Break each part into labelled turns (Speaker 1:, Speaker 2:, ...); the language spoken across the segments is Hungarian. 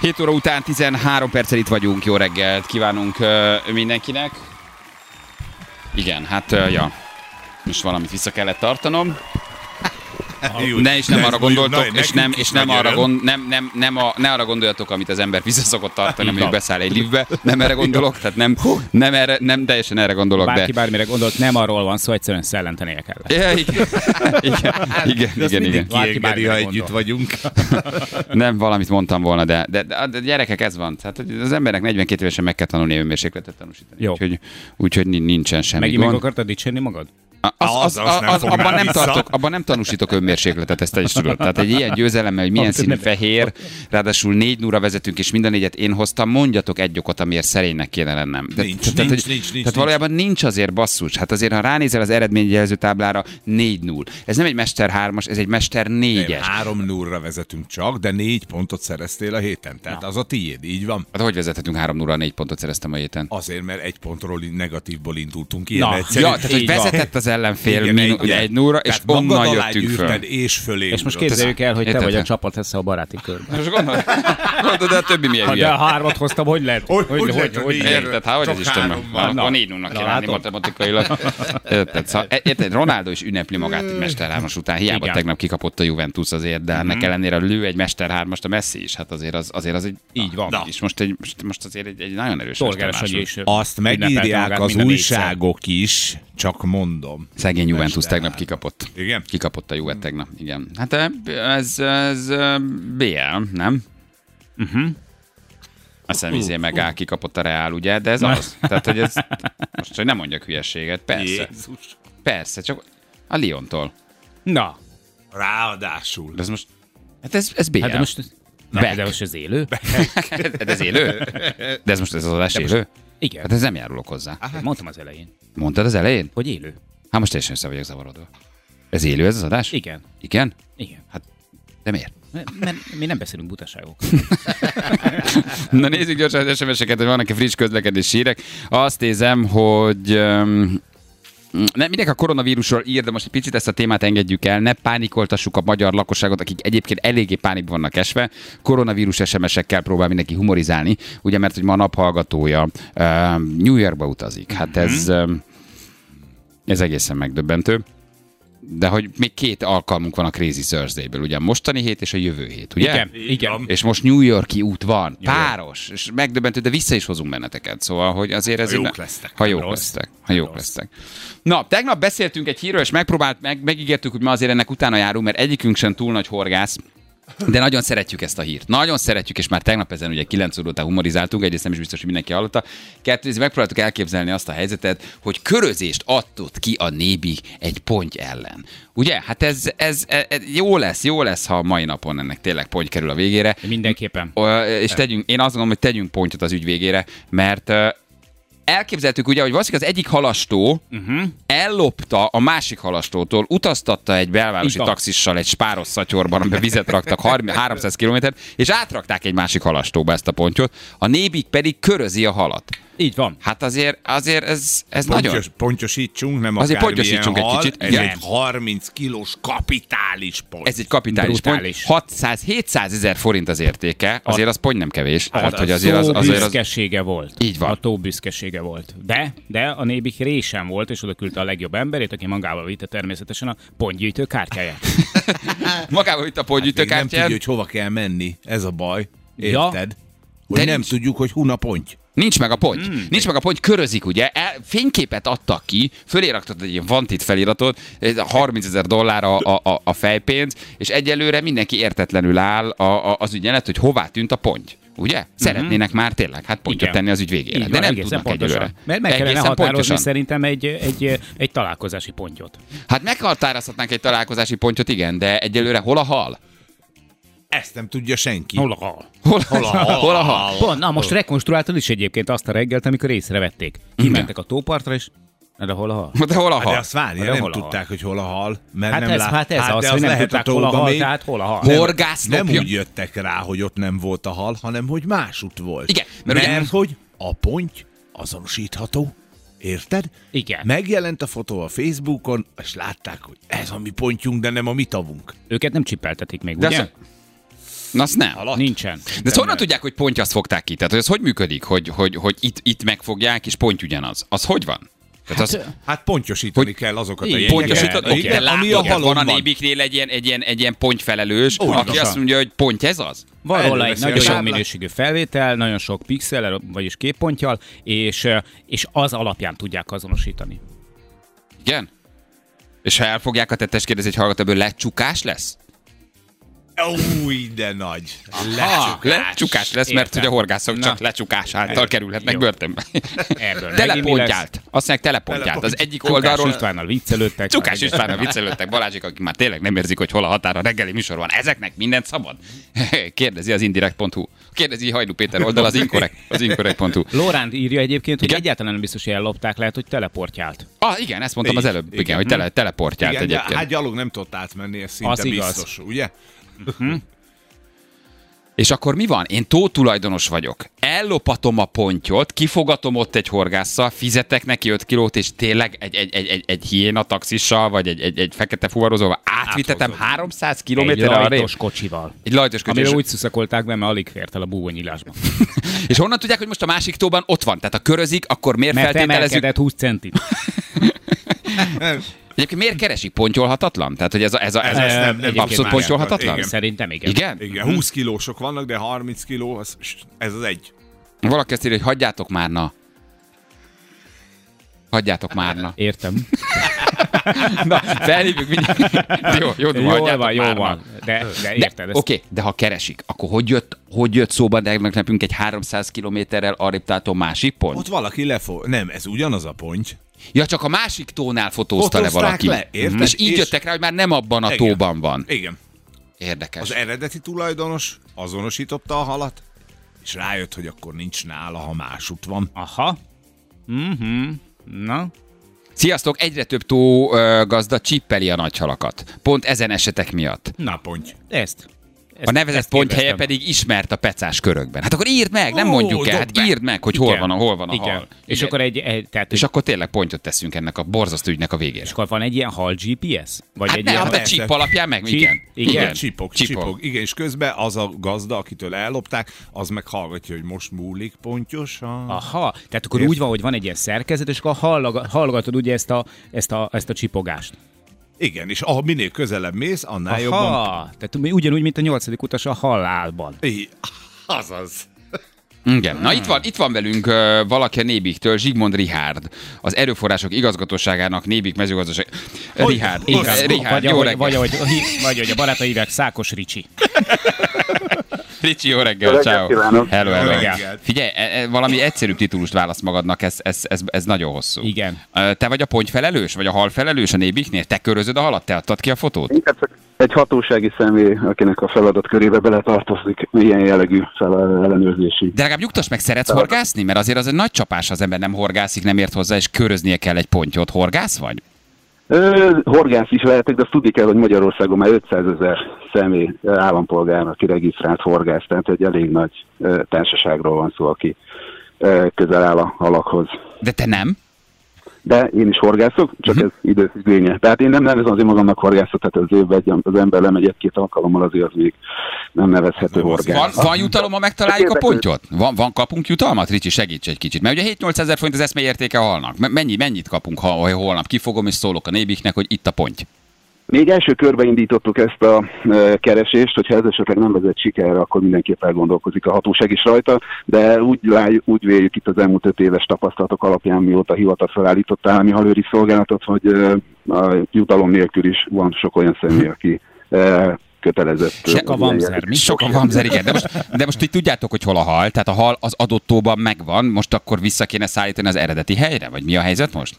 Speaker 1: 7 óra után 13 perccel itt vagyunk. Jó reggelt kívánunk ö, mindenkinek. Igen, hát ö, ja. Most valamit vissza kellett tartanom. Ne és nem
Speaker 2: De ez
Speaker 1: arra
Speaker 2: mondjuk-
Speaker 1: gondoltok,
Speaker 2: na,
Speaker 1: és
Speaker 2: nekünk
Speaker 1: nem,
Speaker 2: is
Speaker 1: és nem
Speaker 2: nagy
Speaker 1: arra
Speaker 2: öröm.
Speaker 1: gond, nem, nem, nem a, ne arra gondoljatok, amit az ember vissza szokott tartani, amikor beszáll egy liftbe. Nem erre gondolok, tehát nem, nem, erre, nem teljesen erre gondolok, de...
Speaker 3: Bárki bármire gondolt, nem arról van szó, egyszerűen szellentenie kell.
Speaker 1: Ja, igen, igen, igen, igen, igen.
Speaker 2: Kiengedi,
Speaker 3: bármire
Speaker 2: ha
Speaker 3: gondol.
Speaker 2: együtt vagyunk.
Speaker 1: Nem, valamit mondtam volna, de, de, de, de gyerekek, ez van. Tehát hogy az embernek 42 évesen meg kell tanulni önmérsékletet tanúsítani.
Speaker 3: Jó.
Speaker 1: Úgyhogy, úgyhogy nin- nincsen semmi
Speaker 3: Megint meg
Speaker 1: gond.
Speaker 3: akartad dicsérni magad?
Speaker 1: Az, az, az,
Speaker 2: Azzal azt Ah, nem
Speaker 1: az,
Speaker 2: fognál
Speaker 1: abban, nem
Speaker 2: vissza.
Speaker 1: tartok, abban nem tanúsítok önmérsékletet, ezt te is tudod. Tehát egy ilyen győzelemmel, hogy milyen
Speaker 3: Amit
Speaker 1: színű
Speaker 3: nem-
Speaker 1: fehér, ráadásul négy núra vezetünk, és minden négyet én hoztam, mondjatok egy okot, amiért szerénynek kéne lennem. De,
Speaker 2: Nincs,
Speaker 1: tehát,
Speaker 2: nincs,
Speaker 1: hogy-
Speaker 2: nincs, nincs,
Speaker 1: Tehát valójában nincs azért basszus. Hát azért, ha ránézel az eredményjelző táblára, 4-0. Ez nem egy Mester 3-as, ez egy Mester 4-es.
Speaker 2: Három nullra vezetünk csak, de négy pontot szereztél a héten. Tehát az a tiéd, így van.
Speaker 1: Hát hogy vezethetünk 3-0-ra, 4 pontot szereztem a héten?
Speaker 2: Azért, mert egy pontról í- negatívból indultunk ilyen
Speaker 3: Na,
Speaker 2: egyszerű.
Speaker 1: Ja, tehát hogy
Speaker 3: Így van.
Speaker 1: vezetett az ellenfél
Speaker 2: Igen,
Speaker 1: minu-
Speaker 2: egyet.
Speaker 1: egy nóra, és
Speaker 2: Tehát magad
Speaker 1: onnan
Speaker 2: alá
Speaker 1: jöttünk föl.
Speaker 2: gyűrted, És fölé.
Speaker 3: És most
Speaker 2: ugrott.
Speaker 3: képzeljük el, hogy te
Speaker 1: Érted?
Speaker 3: vagy a csapat lesz a baráti körben.
Speaker 1: Most gondolod, gondolod, de a többi milyen
Speaker 3: Ha de a
Speaker 1: hülye.
Speaker 3: hármat hoztam, hogy lehet?
Speaker 2: Hogy- hogy lehet, hogy így?
Speaker 1: Érted, hát hogy
Speaker 2: Csak
Speaker 1: az Isten meg?
Speaker 2: három van.
Speaker 1: Akkor
Speaker 3: Na.
Speaker 1: négy nulnak
Speaker 3: Na,
Speaker 1: kell állni
Speaker 3: látod?
Speaker 1: matematikailag. Érted, szóval, e- érted, Ronaldo is ünnepli magát egy Mester 3 után, hiába
Speaker 3: Igen. Mhm.
Speaker 1: tegnap kikapott a Juventus azért, de ennek ellenére lő egy Mester 3 a Messi is, hát azért az, azért az egy...
Speaker 3: Így van.
Speaker 1: Na. És most, egy, most- most azért egy, egy nagyon erős
Speaker 3: Torgáros
Speaker 1: Mester
Speaker 3: Annyi
Speaker 1: másod.
Speaker 3: is.
Speaker 2: Azt
Speaker 3: ünnepelt
Speaker 2: megírják
Speaker 3: magát
Speaker 2: az
Speaker 3: minden
Speaker 2: újságok is, csak mondom.
Speaker 1: Szegény Juventus tegnap kikapott.
Speaker 2: Igen?
Speaker 1: Kikapott a Juve tegnap, igen. Hát eh, ez, ez eh, BL, nem? Uh-huh.
Speaker 3: Mhm.
Speaker 1: Azt hiszem, izé meg A kikapott a Reál, ugye? De ez az. Tehát, hogy ez... Most, hogy nem mondjak hülyeséget. Persze.
Speaker 2: Jézus.
Speaker 1: Persze, csak a Lyontól.
Speaker 3: négyszer.
Speaker 1: Hát
Speaker 3: Na,
Speaker 2: Ráadásul.
Speaker 1: De ez most... Hát ez, ez BL.
Speaker 3: hát de most... Na,
Speaker 1: Back.
Speaker 3: de most az élő?
Speaker 1: Hát ez élő? De ez most ez az adás élő? Hát
Speaker 3: Igen, Hát
Speaker 1: ez nem járulok hozzá.
Speaker 3: mondtam az elején,
Speaker 1: Mondtad az elején?
Speaker 3: hogy élő.
Speaker 1: Hát most teljesen össze vagyok zavarodva. Ez élő ez az adás?
Speaker 3: Igen,
Speaker 1: Igen?
Speaker 3: igen.
Speaker 1: Hát, de miért?
Speaker 3: Mert mi nem beszélünk butaságok.
Speaker 1: Na nézzük gyorsan az SMS-eket, hogy vannak-e friss közlekedési hírek. Azt nézem, hogy... Um, nem, mindenki a koronavírusról ír, de most egy picit ezt a témát engedjük el. Ne pánikoltassuk a magyar lakosságot, akik egyébként eléggé pánikban vannak esve. Koronavírus SMS-ekkel próbál mindenki humorizálni, ugye, mert hogy ma a naphallgatója um, New Yorkba utazik. Hát ez, um, ez egészen megdöbbentő. De hogy még két alkalmunk van a Crazy Thursday-ből, ugye a mostani hét és a jövő hét, ugye?
Speaker 3: Igen, igen.
Speaker 1: És most New Yorki út van, páros, és megdöbbentő, de vissza is hozunk benneteket. Szóval, hogy azért ez...
Speaker 2: jók
Speaker 1: így-
Speaker 2: lesztek,
Speaker 1: Ha
Speaker 2: nem
Speaker 1: jók
Speaker 2: rossz.
Speaker 1: lesztek. Ha jók lesztek. Na, tegnap beszéltünk egy hírről, és megpróbált, meg, megígértük, hogy ma azért ennek utána járunk, mert egyikünk sem túl nagy horgász. De nagyon szeretjük ezt a hírt. Nagyon szeretjük, és már tegnap ezen ugye 9 óra után humorizáltunk, egyrészt nem is biztos, hogy mindenki hallotta. Kettőző, megpróbáltuk elképzelni azt a helyzetet, hogy körözést adtott ki a nébi egy ponty ellen. Ugye? Hát ez, ez, ez, ez jó lesz, jó lesz, ha a mai napon ennek tényleg ponty kerül a végére.
Speaker 3: Mindenképpen.
Speaker 1: Ö, és tegyünk, én azt gondolom, hogy tegyünk pontot az ügy végére, mert ö, elképzeltük ugye, hogy valószínűleg az egyik halastó uh-huh. ellopta a másik halastótól, utaztatta egy belvárosi
Speaker 3: Így van.
Speaker 1: taxissal egy spáros szatyorban, amiben vizet raktak 30, 300 kilométert, és átrakták egy másik halastóba ezt a pontyot, a nébik pedig körözi a halat.
Speaker 3: Így van.
Speaker 1: Hát azért, azért ez, ez nagyon...
Speaker 2: Pontyos, pontyosítsunk, nem
Speaker 1: Azért
Speaker 2: akármilyen
Speaker 1: pontyosítsunk egy
Speaker 2: hal,
Speaker 1: kicsit.
Speaker 2: Ez
Speaker 1: Igen.
Speaker 2: egy 30 kilós kapitális pont.
Speaker 1: Ez egy kapitális pont.
Speaker 3: Brutális.
Speaker 1: 600-700 ezer forint az értéke, azért az pont nem kevés.
Speaker 3: Hát
Speaker 1: Tehát, Hát, hogy azért az,
Speaker 3: tó
Speaker 1: azért az,
Speaker 3: büszkesége volt.
Speaker 1: Így van.
Speaker 3: A tó büszkesége volt. De, de a nébik résen volt, és oda küldte a legjobb emberét, aki magával vitte természetesen a pontgyűjtő kártyáját.
Speaker 1: magával itt a
Speaker 2: Még nem tudja,
Speaker 1: pontygyűjtőkártyát.
Speaker 2: hogy hova kell menni. Ez a baj.
Speaker 3: Ja.
Speaker 2: Érted? Hogy
Speaker 1: De
Speaker 2: nem
Speaker 1: nincs.
Speaker 2: tudjuk, hogy huna ponty.
Speaker 1: Nincs meg a pont.
Speaker 3: Hmm.
Speaker 1: Mm. Nincs meg a pont, körözik, ugye? El, fényképet adtak ki, fölé raktott egy ilyen vantit feliratot, ez a 30 ezer dollár a, a, a- a fejpénz, és egyelőre mindenki értetlenül áll a, a, az ügyelet, hogy hová tűnt a pont. Ugye? Szeretnének már tényleg, hát pontot
Speaker 3: Mhm. Igen.
Speaker 1: tenni az ügy végére.
Speaker 3: Így
Speaker 1: de
Speaker 3: van,
Speaker 1: nem
Speaker 3: egészen
Speaker 1: tudnak
Speaker 3: pontosan.
Speaker 1: egyelőre.
Speaker 3: Mert meg kellene
Speaker 1: Egészen
Speaker 3: határozni
Speaker 1: pontosan.
Speaker 3: szerintem egy, egy, egy találkozási pontjot.
Speaker 1: Hát meghatározhatnánk egy találkozási pontot, igen, de egyelőre hol a hal?
Speaker 2: Ezt nem tudja senki.
Speaker 3: Hol a hal?
Speaker 1: Hol, hol a hal? Hol a hal?
Speaker 3: Pont, na most rekonstruáltad is egyébként azt a reggelt, amikor észrevették. Kimentek a tópartra, és na, de hol a hal?
Speaker 1: De hol a
Speaker 2: Hát
Speaker 1: hal?
Speaker 2: de azt várja,
Speaker 3: De
Speaker 2: nem
Speaker 3: hol a hal?
Speaker 2: tudták, hogy hol a hal, mert
Speaker 3: Hát
Speaker 2: nem
Speaker 3: ez,
Speaker 2: lát...
Speaker 3: hát ez az,
Speaker 2: de
Speaker 3: hogy nem
Speaker 2: lehet a
Speaker 3: tudták, hol a
Speaker 2: tóba
Speaker 3: hal,
Speaker 2: még.
Speaker 3: tehát hol a hal.
Speaker 1: Horgászlopja.
Speaker 2: Nem úgy jöttek rá, hogy ott nem volt a hal, hanem hogy másút volt.
Speaker 1: Igen, mert
Speaker 2: mert,
Speaker 1: ugye-
Speaker 2: mert hogy a ponty azonosítható. Érted?
Speaker 3: Igen.
Speaker 2: Megjelent a fotó a Facebookon, és látták, hogy ez a mi pontjunk, de nem a mi tavunk.
Speaker 3: Őket nem csipeltetik még,
Speaker 1: De
Speaker 3: ugye?
Speaker 1: azt- Na, azt nem. Alatt.
Speaker 3: Nincsen.
Speaker 1: De ezt honnan tudják, hogy pontja azt fogták ki? Tehát, hogy ez hogy működik, hogy, hogy, hogy itt, itt megfogják, és pont ugyanaz? Az hogy van? Tehát az,
Speaker 2: Hát pontyosítani
Speaker 1: Hogy-
Speaker 2: kell azokat a
Speaker 1: Így,
Speaker 2: jegyeket,
Speaker 1: pontosítod,
Speaker 2: igen,
Speaker 1: oké, de
Speaker 2: ami
Speaker 1: látod,
Speaker 2: a
Speaker 1: a van,
Speaker 2: halon
Speaker 1: a
Speaker 2: van.
Speaker 1: nébiknél egy ilyen, egy ilyen, egy ilyen pontfelelős,
Speaker 2: Úgy
Speaker 1: aki
Speaker 2: van.
Speaker 1: azt mondja, hogy pont ez az?
Speaker 3: Van
Speaker 2: Erről
Speaker 3: róla egy
Speaker 2: beszélek.
Speaker 3: nagyon jó
Speaker 2: Táblák.
Speaker 3: minőségű felvétel, nagyon sok pixel, vagyis képpontjal, és, és az alapján tudják azonosítani.
Speaker 1: Igen? És ha elfogják a tettes kérdés, egy hallgató, ebből lecsukás lesz?
Speaker 2: Új, de nagy.
Speaker 1: Hát Lecsukás. lecsukás lesz, mert
Speaker 3: Értem.
Speaker 1: ugye horgászok
Speaker 3: Na.
Speaker 1: csak lecsukás által kerülhetnek
Speaker 3: Jó.
Speaker 1: börtönbe.
Speaker 3: Ebből megint mi lesz?
Speaker 1: telepontjált. Azt mondják telepontjált. Az
Speaker 2: Telepont.
Speaker 1: egyik
Speaker 3: Csukás
Speaker 1: oldalról...
Speaker 3: Istvánnal viccelődtek.
Speaker 1: Csukás István a viccelődtek Balázsik, akik már tényleg nem érzik, hogy hol a határ a reggeli műsorban. Ezeknek mindent szabad? Kérdezi az indirekt.hu. Kérdezi Hajdú Péter oldal az inkorrekt. Az inkorrekt.hu.
Speaker 3: Lóránt írja egyébként, hogy
Speaker 1: Igen?
Speaker 3: egyáltalán nem biztos, hogy ellopták, lehet, hogy teleportjált.
Speaker 1: Ah, igen, ezt mondtam az
Speaker 2: Igen,
Speaker 1: előbb. Igen,
Speaker 2: igen.
Speaker 1: hogy tele, teleportjált
Speaker 2: Igen, de
Speaker 1: egyébként.
Speaker 2: hát gyalog nem tudott átmenni, ez szinte
Speaker 3: Az igaz.
Speaker 2: biztos, ugye?
Speaker 1: És akkor mi van? Én tótulajdonos vagyok. Ellopatom a pontyot, kifogatom ott egy horgásszal, fizetek neki 5 kilót, és tényleg egy, egy, egy, egy, egy hiéna taxissal, vagy egy, egy, egy fekete fuvarozóval átvitetem 300
Speaker 3: Egy
Speaker 1: kilométerre arra.
Speaker 3: rajtos kocsival.
Speaker 1: Egy lajtos kötés.
Speaker 3: Amire úgy szuszakolták be, mert alig fért el a búvonyilásba.
Speaker 1: És honnan tudják, hogy most a másik tóban ott van? Tehát a körözik, akkor miért
Speaker 3: Mert
Speaker 1: feltételezzük?
Speaker 3: emelkedett 20 centit.
Speaker 1: Egyébként miért keresik pontyolhatatlan? Tehát, hogy ez a, ez a, ez
Speaker 2: Ezt
Speaker 1: a
Speaker 2: nem- nem
Speaker 1: abszolút
Speaker 2: egyébként
Speaker 1: pontyolhatatlan?
Speaker 2: Igen.
Speaker 3: Szerintem igen.
Speaker 1: Igen?
Speaker 2: Igen, 20 kilósok vannak, de 30 kiló, az, ez az egy.
Speaker 1: Valaki azt írja, hogy hagyjátok már, na. Hagyjátok már, na.
Speaker 3: Értem.
Speaker 1: Na, felhívjuk mindjárt. Jó, jó,
Speaker 3: Jól van, jól van. De, de
Speaker 1: Oké,
Speaker 3: érted. ezt-
Speaker 1: okay, de ha keresik, akkor hogy jött, hogy jött szóba de meg nekünk egy 300 kilométerrel arrébb tátó másik pont?
Speaker 2: Ott valaki lefo... Nem, ez ugyanaz a ponty.
Speaker 1: Ja, csak a másik tónál fotózta le
Speaker 2: Fotózták
Speaker 1: valaki.
Speaker 2: le, érted?
Speaker 1: És így
Speaker 2: És-
Speaker 1: jöttek rá, hogy már nem abban a
Speaker 2: Igen.
Speaker 1: tóban van.
Speaker 2: Igen.
Speaker 1: Érdekes.
Speaker 2: Az eredeti tulajdonos azonosította a halat, és rájött, hogy akkor nincs nála, ha másút van.
Speaker 3: Aha. Mhm. Na,
Speaker 1: Sziasztok, egyre több tó ö, gazda csippeli a nagyhalakat. Pont ezen esetek miatt.
Speaker 2: Na, ponty.
Speaker 3: ezt. ezt
Speaker 1: A nevezett
Speaker 3: ezt
Speaker 1: ponthelye
Speaker 3: kérdeztem.
Speaker 1: pedig ismert a pecás körökben. Hát akkor írd meg, nem
Speaker 2: Ó,
Speaker 1: mondjuk
Speaker 2: dobd
Speaker 1: el, hát
Speaker 2: be.
Speaker 1: írd meg, hogy hol
Speaker 3: Igen.
Speaker 1: van a, hol van a
Speaker 3: Igen.
Speaker 1: hal.
Speaker 3: És akkor egy, egy tehát
Speaker 1: és akkor tényleg pontot teszünk ennek a borzasztó ügynek a végére.
Speaker 3: És akkor van egy ilyen hal GPS? Vagy
Speaker 1: Hát
Speaker 3: egy
Speaker 1: nem,
Speaker 3: ilyen...
Speaker 1: hát a
Speaker 2: persze.
Speaker 1: csíp alapján meg,
Speaker 3: Csíp,
Speaker 1: igen.
Speaker 3: igen.
Speaker 2: Igen, csipog, csipog. csipog. Igen, és közben az a gazda, akitől ellopták, az meg hallgatja, hogy most múlik pontyosan.
Speaker 3: Aha, tehát akkor úgy van, hogy van egy ilyen szerkezet, és akkor hallaga- hallgatod ugye ezt a, ezt a, ezt a csipogást.
Speaker 2: Igen, és ah, minél közelebb mész, annál
Speaker 3: Aha,
Speaker 2: jobban.
Speaker 3: tehát ugyanúgy, mint a nyolcadik utas a halálban.
Speaker 2: I- Azaz.
Speaker 1: Igen. Na itt van, itt van velünk ö, valaki a Nébiktől, Zsigmond Rihárd, az Erőforrások Igazgatóságának Nébik mezőgazdaság. Rihárd,
Speaker 2: Inkább.
Speaker 1: Rihárd,
Speaker 3: vagy,
Speaker 1: Rihárd, jó
Speaker 3: ahogy,
Speaker 1: reggelt.
Speaker 3: vagy, ahogy, vagy ahogy a barátai hívják, Szákos Ricsi.
Speaker 1: Ricsi, jó reggel,
Speaker 4: Jó reggelt
Speaker 1: ciao.
Speaker 4: kívánok.
Speaker 1: Hello, hello.
Speaker 2: Jó
Speaker 1: Reggelt.
Speaker 2: reggelt.
Speaker 1: Figyelj, e- e- valami egyszerűbb titulust válasz magadnak, ez, ez, ez, ez nagyon hosszú.
Speaker 3: Igen.
Speaker 1: Ö, Te vagy a pontyfelelős, vagy a halfelelős a nébiknél? Te körözöd a halat, te adtad ki a fotót?
Speaker 4: Inkább csak egy hatósági személy, akinek a feladat körébe beletartozik ilyen jellegű fel- ellenőrzési.
Speaker 1: De legalább nyugtass meg, szeretsz horgászni? Mert azért az egy nagy csapás, ha az ember nem horgászik, nem ért hozzá, és köröznie kell egy pontyot. Horgász vagy?
Speaker 4: Ö, horgász is lehetek, de azt tudni kell, hogy Magyarországon már 500 ezer személy ö, állampolgárnak aki regisztrált horgász, tehát egy elég nagy ö, társaságról van szó, aki ö, közel áll a halakhoz.
Speaker 1: De te nem?
Speaker 4: De én is horgászok, csak ez időfüggvénye. Tehát én nem nevezem azért magamnak horgászat, tehát az évben egy- az ember lemegy egy-két alkalommal, azért az még nem nevezhető
Speaker 2: Nem az
Speaker 4: horgász.
Speaker 1: Van, van jutalom, ha megtaláljuk a
Speaker 4: Érdeklő.
Speaker 1: pontyot? Van, van kapunk jutalmat? Ricsi, segíts egy kicsit. Mert ugye 7-8 ezer forint az eszmei értéke halnak. Me- Mennyi, mennyit kapunk, ha, ha holnap kifogom és szólok a nébiknek, hogy itt a ponty?
Speaker 4: Még első körbe indítottuk ezt a e, keresést, hogyha ez esetleg nem vezet sikerre, akkor mindenképp elgondolkozik a hatóság is rajta, de úgy, láj, úgy véljük itt az elmúlt öt éves tapasztalatok alapján, mióta hivatal felállított állami halőri szolgálatot, hogy e, a jutalom nélkül is van sok olyan személy, aki e, kötelezett. e,
Speaker 3: Csak a
Speaker 4: ilyen
Speaker 3: vamzer, mi?
Speaker 1: Sokan van, Zer, igen. De most, de most ti tudjátok, hogy hol a hal, tehát a hal az adott tóban megvan, most akkor vissza kéne szállítani az eredeti helyre? Vagy mi a helyzet most?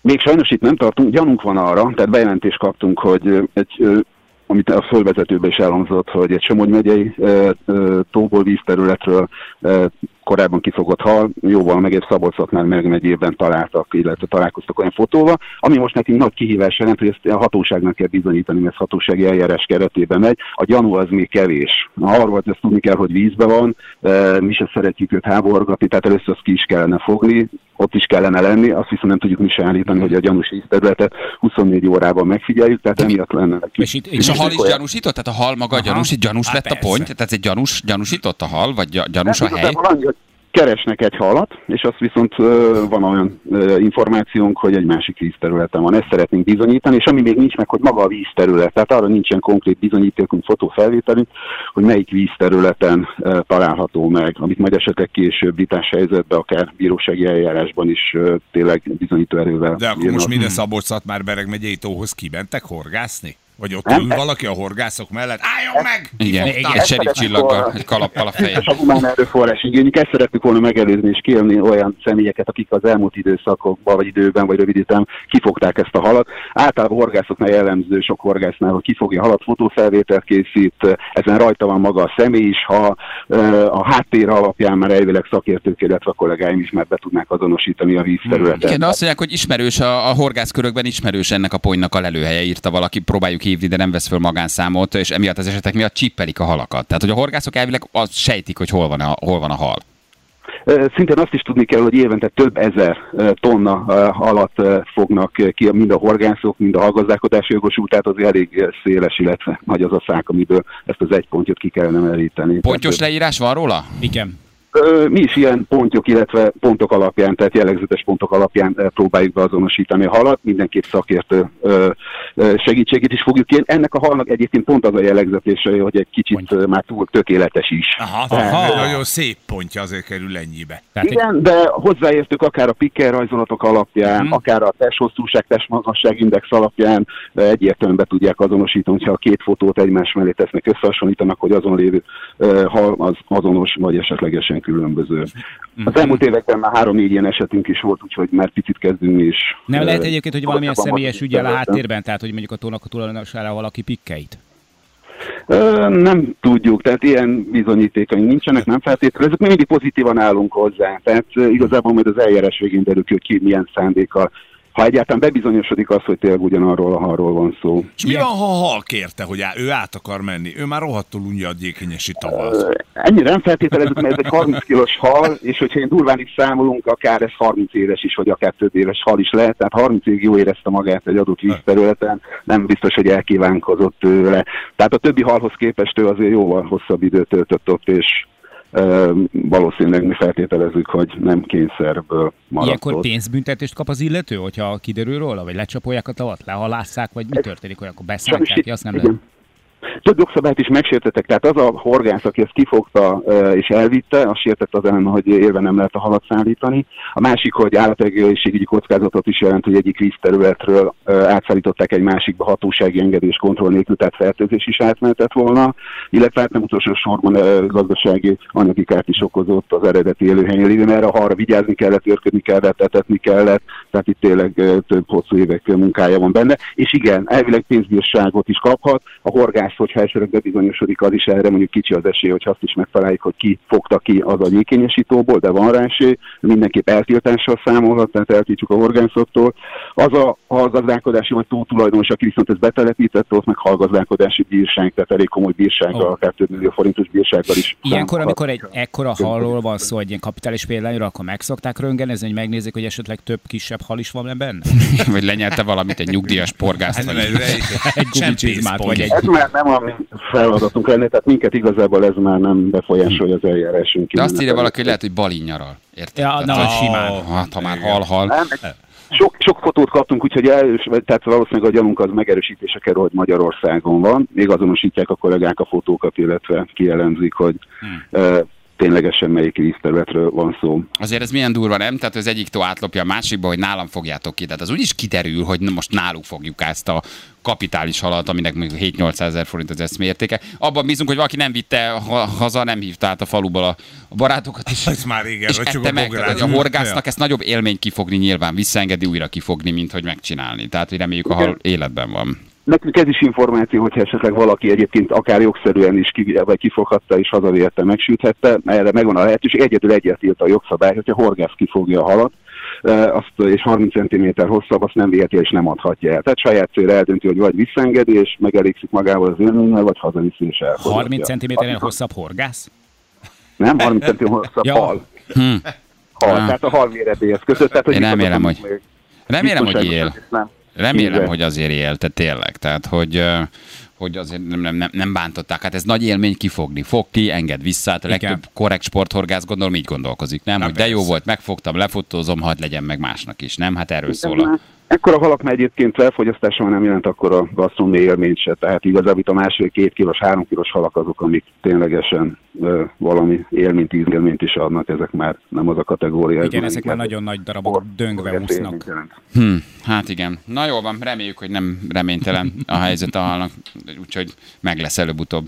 Speaker 4: Még sajnos itt nem tartunk, gyanunk van arra, tehát bejelentést kaptunk, hogy ö, egy, ö, amit a fölvezetőben is elhangzott, hogy egy Somogy megyei ö, ö, tóból vízterületről ö, korábban kifogott hal, jóval megébb Szabolcsatnál meg megyében találtak, illetve találkoztak olyan fotóval, ami most nekünk nagy kihívás jelent, hogy ezt a hatóságnak kell bizonyítani, mert ez hatósági eljárás keretében megy. A gyanú az még kevés. A harvat ezt tudni kell, hogy vízbe van, e, mi se szeretjük őt háborgatni, tehát először azt ki is kellene fogni, ott is kellene lenni, azt viszont nem tudjuk mi se állítani, hogy a gyanús területet 24 órában megfigyeljük, tehát emiatt lenne
Speaker 3: És itt,
Speaker 1: És a hal is
Speaker 4: Olyan.
Speaker 1: gyanúsított? Tehát a hal maga
Speaker 3: Aha.
Speaker 1: gyanúsít, gyanús
Speaker 3: Hát
Speaker 1: lett a
Speaker 3: persze.
Speaker 1: pont? Tehát egy gyanús, gyanúsított a hal, vagy gya- gyanús a
Speaker 4: Hát
Speaker 1: hely?
Speaker 4: igazából annyi, hogy keresnek egy halat, és azt viszont ö, van olyan ö, információnk, hogy egy másik vízterületen van. Ezt szeretnénk bizonyítani, és ami még nincs meg, hogy maga a vízterület. Tehát arra nincsen konkrét bizonyítékunk, fotófelvételünk, hogy melyik vízterületen ö, található meg, amit majd esetleg később vitás helyzetben, akár bírósági eljárásban is ö, tényleg bizonyító erővel.
Speaker 2: De akkor
Speaker 4: bírnak.
Speaker 2: most minden szabolcs már Bereg megyei tóhoz kimentek horgászni? Vagy ott
Speaker 4: Nem.
Speaker 2: ül valaki a horgászok mellett? Álljon meg!
Speaker 1: Igen,
Speaker 3: Igen.
Speaker 1: egy serik csillaggal, egy kalappal a
Speaker 4: Biztos
Speaker 1: fején.
Speaker 4: a humán erőforrás igényük. Ezt szerettük volna megelőzni és kijelni olyan személyeket, akik az elmúlt időszakokban, vagy időben, vagy rövid időben kifogták ezt a halat. Általában horgászoknál jellemző sok horgásznál, hogy kifogja a halat, fotófelvételt készít, ezen rajta van maga a személy is, ha ö, a háttér alapján már elvileg szakértők, illetve a kollégáim is már be tudnák azonosítani a vízterületet.
Speaker 1: Igen, de azt mondják, hogy ismerős, a, a horgászkörökben ismerős ennek a ponynak a lelőhelye, írta valaki, próbáljuk hívni, de nem vesz föl magánszámot, és emiatt az esetek miatt csippelik a halakat. Tehát, hogy a horgászok elvileg azt sejtik, hogy hol van a, hol van a hal.
Speaker 4: Ö, Szintén azt is tudni kell, hogy évente több ezer ö, tonna ö, alatt ö, fognak ö, ki mind a horgászok, mind a hallgazdálkodási jogosult, tehát az elég ö, széles, illetve nagy az a szák, amiből ezt az egy pontjot ki kellene meríteni.
Speaker 1: Pontyos
Speaker 4: Tehát,
Speaker 1: leírás van róla?
Speaker 3: Igen.
Speaker 4: ö, Mi is ilyen pontyok, illetve pontok alapján, tehát jellegzetes pontok alapján ö, próbáljuk beazonosítani a halat, mindenképp szakértő ö, ö, segítségét is fogjuk kérni. Ennek a halnak egyébként pont az a jellegzetése, hogy egy kicsit ö, már túl tökéletes is.
Speaker 2: Aha,
Speaker 3: Aha.
Speaker 2: Aha. nagyon szép pontja azért kerül ennyibe.
Speaker 3: Tehát egy,
Speaker 4: Igen, de hozzáértük akár a picker rajzolatok alapján,
Speaker 3: Mhm.
Speaker 4: akár a testhosszúság, testmazgasság index alapján eh, egyértelműen be tudják azonosítani, hogyha a két fotót egymás mellé tesznek, összehasonlítanak, hogy azon lévő eh, hal az azonos, vagy esetlegesen különböző.
Speaker 3: Mhm.
Speaker 4: Az elmúlt években már három-négy ilyen esetünk is volt, úgyhogy már picit kezdünk mi is.
Speaker 3: nem lehet
Speaker 4: eh,
Speaker 3: egyébként, hogy valamilyen
Speaker 4: komolyabban
Speaker 3: személyes
Speaker 4: maradni
Speaker 3: ügyel a
Speaker 4: területen.
Speaker 3: háttérben, tehát hogy mondjuk a tónak a tulajdonosára valaki pikkeit.
Speaker 4: Ö, Nem tudjuk, tehát ilyen bizonyítékaink nincsenek, nem feltétlenül. Ezek mi mindig pozitívan állunk hozzá, tehát ö, igazából majd az eljárás végén derül ki, hogy ki milyen szándékkal. Ha egyáltalán bebizonyosodik az, hogy tényleg ugyanarról a halról van szó.
Speaker 2: És mi
Speaker 3: Ilyen-
Speaker 2: van, ha a hal kérte, hogy á, ő át akar menni? Ő már rohadtul unja a gyékenyesi
Speaker 4: Ö,
Speaker 2: tavaszt.
Speaker 4: Ennyire nem feltételezzük, mert ez egy 30 kilós hal, és hogyha én durván is számolunk, akár ez 30 éves is, vagy akár több éves hal is lehet, tehát 30 évig jó érezte magát egy adott vízterületen, nem biztos, hogy elkívánkozott tőle. Tehát a többi halhoz képest ő azért jóval hosszabb időt töltött ott, és ö, valószínűleg mi feltételezzük, hogy nem kényszerből maradt
Speaker 3: Ilyenkor
Speaker 4: ott.
Speaker 3: pénzbüntetést kap az illető, hogyha kiderül róla, vagy lecsapolják a tavat, lehalásszák, vagy mi történik, hogy akkor beszállják ki, azt nem lehet.
Speaker 4: Igen. Több jogszabályt is megsértettek, tehát az a horgász, aki ezt kifogta ö, és elvitte, az sértett az ellen, hogy érve nem lehet a halat szállítani. A másik, hogy állategészségügyi kockázatot is jelent, hogy egyik vízterületről ö, átszállították egy másikba hatósági engedés kontroll nélkül, tehát fertőzés is átmentett volna, illetve hát nem utolsó sorban ö, gazdasági anyagi kárt is okozott az eredeti élőhelyen lévő, mert a halra vigyázni kellett, őrködni kellett, etetni kellett, tehát itt tényleg ö, több hosszú évek ö, munkája van benne. És igen, elvileg pénzbírságot is kaphat. A horgász, hogyha esetleg bebizonyosodik, az is erre mondjuk kicsi az esély, hogy azt is megtaláljuk, hogy ki fogta ki az a gyékényesítóból, de van rá esély. Mindenképp eltiltással számolhat, tehát eltiltjuk a horgászoktól. Az a hallgazdálkodási vagy tó tulajdonos, aki viszont ezt betelepítette, ott meg hallgazdálkodási bírság, tehát elég komoly bírsággal,
Speaker 1: Oh.
Speaker 3: Ó.
Speaker 4: akár több millió forintos bírsággal is.
Speaker 3: Ilyenkor,
Speaker 4: számolhat.
Speaker 3: amikor egy
Speaker 1: e-
Speaker 3: ekkora halról van szó, egy ilyen kapitális példányról, akkor megszokták röntgenezni, hogy megnézik, hogy esetleg több kisebb hal is van ebben?
Speaker 1: Vagy lenyelte valamit, egy nyugdíjas porgászt?
Speaker 2: Hát nem,
Speaker 1: Vagy...
Speaker 2: egy, egy, egy
Speaker 3: gumicsizmát, vagy
Speaker 2: csempészpont.
Speaker 3: egy-
Speaker 4: Ez már nem a mi feladatunk lenne, tehát minket igazából ez már nem befolyásolja az eljárásunk.
Speaker 1: De azt írja
Speaker 4: kimenetelét.
Speaker 1: valaki, hogy lehet, hogy balin nyaral. Érted?
Speaker 3: Ja, na,
Speaker 1: Tehát, hogy-
Speaker 3: simán.
Speaker 1: Hát, ha már hal-hal.
Speaker 4: Nem, sok, sok fotót kaptunk, úgyhogy elős, vagy- tehát valószínűleg a gyanunk az megerősítése kerül, hogy Magyarországon van. Még azonosítják a kollégák a fotókat, illetve kielemzik, hogy hmm. e, ténylegesen melyik vízterületről van szó.
Speaker 1: Azért ez milyen durva, nem? Tehát az egyik tó átlopja a másikba, hogy nálam fogjátok ki. Tehát az úgyis kiderül, hogy na most náluk fogjuk ezt a kapitális halat, aminek mondjuk 7-800 ezer forint az eszmértéke. Abban bízunk, hogy valaki nem vitte ha- haza, nem hívta át a faluból a a barátokat is.
Speaker 2: Ez már régen,
Speaker 1: és
Speaker 2: vagy csak
Speaker 1: ette
Speaker 2: a
Speaker 1: meg,
Speaker 2: bográt.
Speaker 1: tehát, hogy a
Speaker 2: Ja.
Speaker 1: horgásznak ezt nagyobb élmény kifogni nyilván, visszaengedi újra kifogni, mint hogy megcsinálni. Tehát, hogy reméljük a hal életben van.
Speaker 4: nekünk ez is információ, hogyha esetleg valaki egyébként akár jogszerűen is ki, vagy kifoghatta és hazavérte, megsüthette, erre megvan a lehetőség. Egyedül egyet írt a jogszabály, hogyha horgász kifogja a halat, e, azt, és 30 cm hosszabb, azt nem viheti és nem adhatja el. Tehát saját célra eldönti, hogy vagy visszengedi, és megelégszik magával az élménnyel, vagy hazaviszi és elfogadja.
Speaker 3: 30 cm-nél hosszabb horgász?
Speaker 4: Nem, 30 cm hosszabb
Speaker 3: Ja.
Speaker 4: hal.
Speaker 1: Hm.
Speaker 4: hal.
Speaker 1: Ah.
Speaker 4: Tehát a hal méretéhez kötött. Tehát,
Speaker 1: Én remélem,
Speaker 4: biztonságos-
Speaker 1: hogy- Remélem, hogy
Speaker 4: biztonságos
Speaker 1: él.
Speaker 4: és Nem.
Speaker 1: Remélem,
Speaker 4: Igen.
Speaker 1: hogy azért él, te tényleg. Tehát, hogy ö, hogy azért nem, nem, nem, nem bántották. Hát ez nagy élmény kifogni. Fog ki, enged vissza. Hát a
Speaker 3: Igen.
Speaker 1: legtöbb korrekt sporthorgász gondolom így gondolkozik, nem?
Speaker 3: Na,
Speaker 1: hogy de jó
Speaker 3: persze.
Speaker 1: volt, megfogtam, lefotózom, hadd legyen meg másnak is, nem? Hát erről szól a...
Speaker 4: Ekkor Ekkora halak már egyébként felfogyasztásával nem jelent akkor a gasztronómiai élményt se. Tehát igazából itt a másfél-két kilós, három kilós halak azok, amik ténylegesen ö, valami élményt, ízélményt is adnak. Ezek már nem az a kategória.
Speaker 3: Igen,
Speaker 4: ez
Speaker 3: ezek már nagyon nagy darabok döngve
Speaker 4: forgató élményt
Speaker 3: úsznak.
Speaker 4: jelent.
Speaker 1: Hm, hát igen. Na jól van, reméljük, hogy nem reménytelen a helyzet a halnak, úgyhogy meg lesz előbb-utóbb.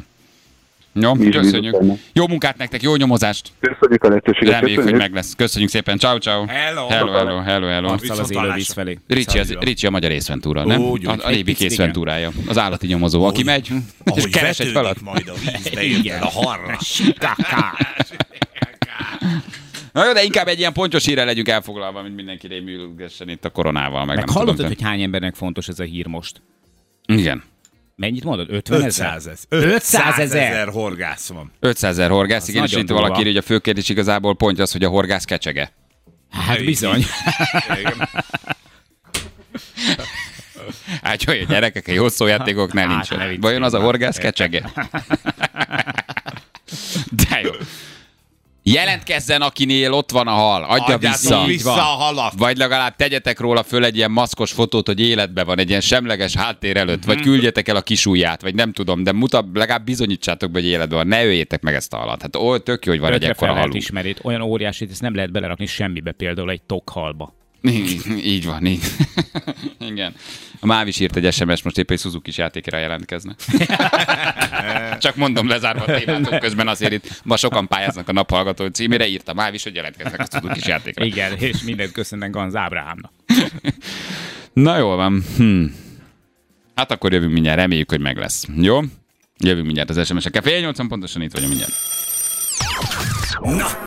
Speaker 1: Jó,
Speaker 4: Mi is
Speaker 1: köszönjük.
Speaker 4: bízunk benne.
Speaker 1: Jó munkát nektek, jó nyomozást.
Speaker 4: Köszönjük a lehetőséget.
Speaker 1: Reméljük, hogy
Speaker 4: köszönjük.
Speaker 1: meg lesz. Köszönjük szépen. Ciao, ciao.
Speaker 2: Hello.
Speaker 1: hello, hello, hello. hello.
Speaker 3: Arccal az élő víz felé.
Speaker 1: Ricsi, az,
Speaker 2: Szia.
Speaker 1: Ricsi a magyar észventúra, nem?
Speaker 2: Úgy,
Speaker 1: a,
Speaker 2: úgy.
Speaker 1: a
Speaker 3: Egy
Speaker 1: lébi
Speaker 3: picit,
Speaker 1: kész ventúrája. Az állati nyomozó, aki megy, és
Speaker 2: Ahogy
Speaker 1: keres egy
Speaker 2: vetődik
Speaker 1: falat.
Speaker 2: majd a vízbe, igen. a harra.
Speaker 1: Na jó, de inkább egy ilyen pontos hírrel legyünk elfoglalva, mint mindenki rémülgessen itt a koronával. Meg,
Speaker 3: Meg
Speaker 1: nem
Speaker 3: hallottad,
Speaker 1: tudom,
Speaker 3: hogy hány embernek fontos ez a hír most?
Speaker 1: te- Igen.
Speaker 3: Mennyit mondod? 50 ezer?
Speaker 2: 500 ezer.
Speaker 3: 500
Speaker 2: 500
Speaker 3: ezer
Speaker 2: ezer horgász van.
Speaker 1: 500 ezer horgász, igen, és
Speaker 3: nagyon
Speaker 1: itt valaki
Speaker 3: durva.
Speaker 1: írja, hogy a fő kérdés igazából pont az, hogy a horgász kecsege.
Speaker 3: Hát bizony.
Speaker 2: Igen.
Speaker 1: Hát jó, hogy a gyerekek, a jó szójátékoknál
Speaker 3: Hát,
Speaker 1: nincs.
Speaker 3: ne viccelj
Speaker 1: Vajon az a
Speaker 3: már.
Speaker 1: horgász kecsege? De jó. Jelentkezzen, akinél ott van a hal. Adja
Speaker 2: Adjátok
Speaker 1: vissza.
Speaker 2: vissza a halat.
Speaker 1: Vagy legalább tegyetek róla föl egy ilyen maszkos fotót, hogy életben van, egy ilyen semleges háttér előtt,
Speaker 3: Mhm.
Speaker 1: vagy küldjetek el a kisúját, vagy nem tudom, de mutat, legalább bizonyítsátok be, hogy életben van. Ne öljétek meg ezt a halat. Hát ó, tök jó, hogy van egy
Speaker 3: Ötre
Speaker 1: ekkora
Speaker 3: fel lehet
Speaker 1: halunk.
Speaker 3: ismerét, olyan óriási, hogy ezt nem lehet belerakni semmibe, például egy tokhalba.
Speaker 1: Így- így van, így. Igen. A Máv is írt egy SMS, most éppen egy Suzuki-s játékra jelentkezne. Csak mondom, lezárva a témát, hogy közben azért itt ma sokan pályáznak a naphallgató címére, írt a Máv is, hogy jelentkeznek a Suzuki-s játékra.
Speaker 3: Igen, és mindent köszönnek Ganz Ábrahámnak.
Speaker 1: Na jól van. Hm. Hát akkor jövünk mindjárt, reméljük, hogy meg lesz. Jó? Jövünk mindjárt az SMS-ekkel. Fél nyolcan pontosan itt vagyunk mindjárt.
Speaker 2: Na,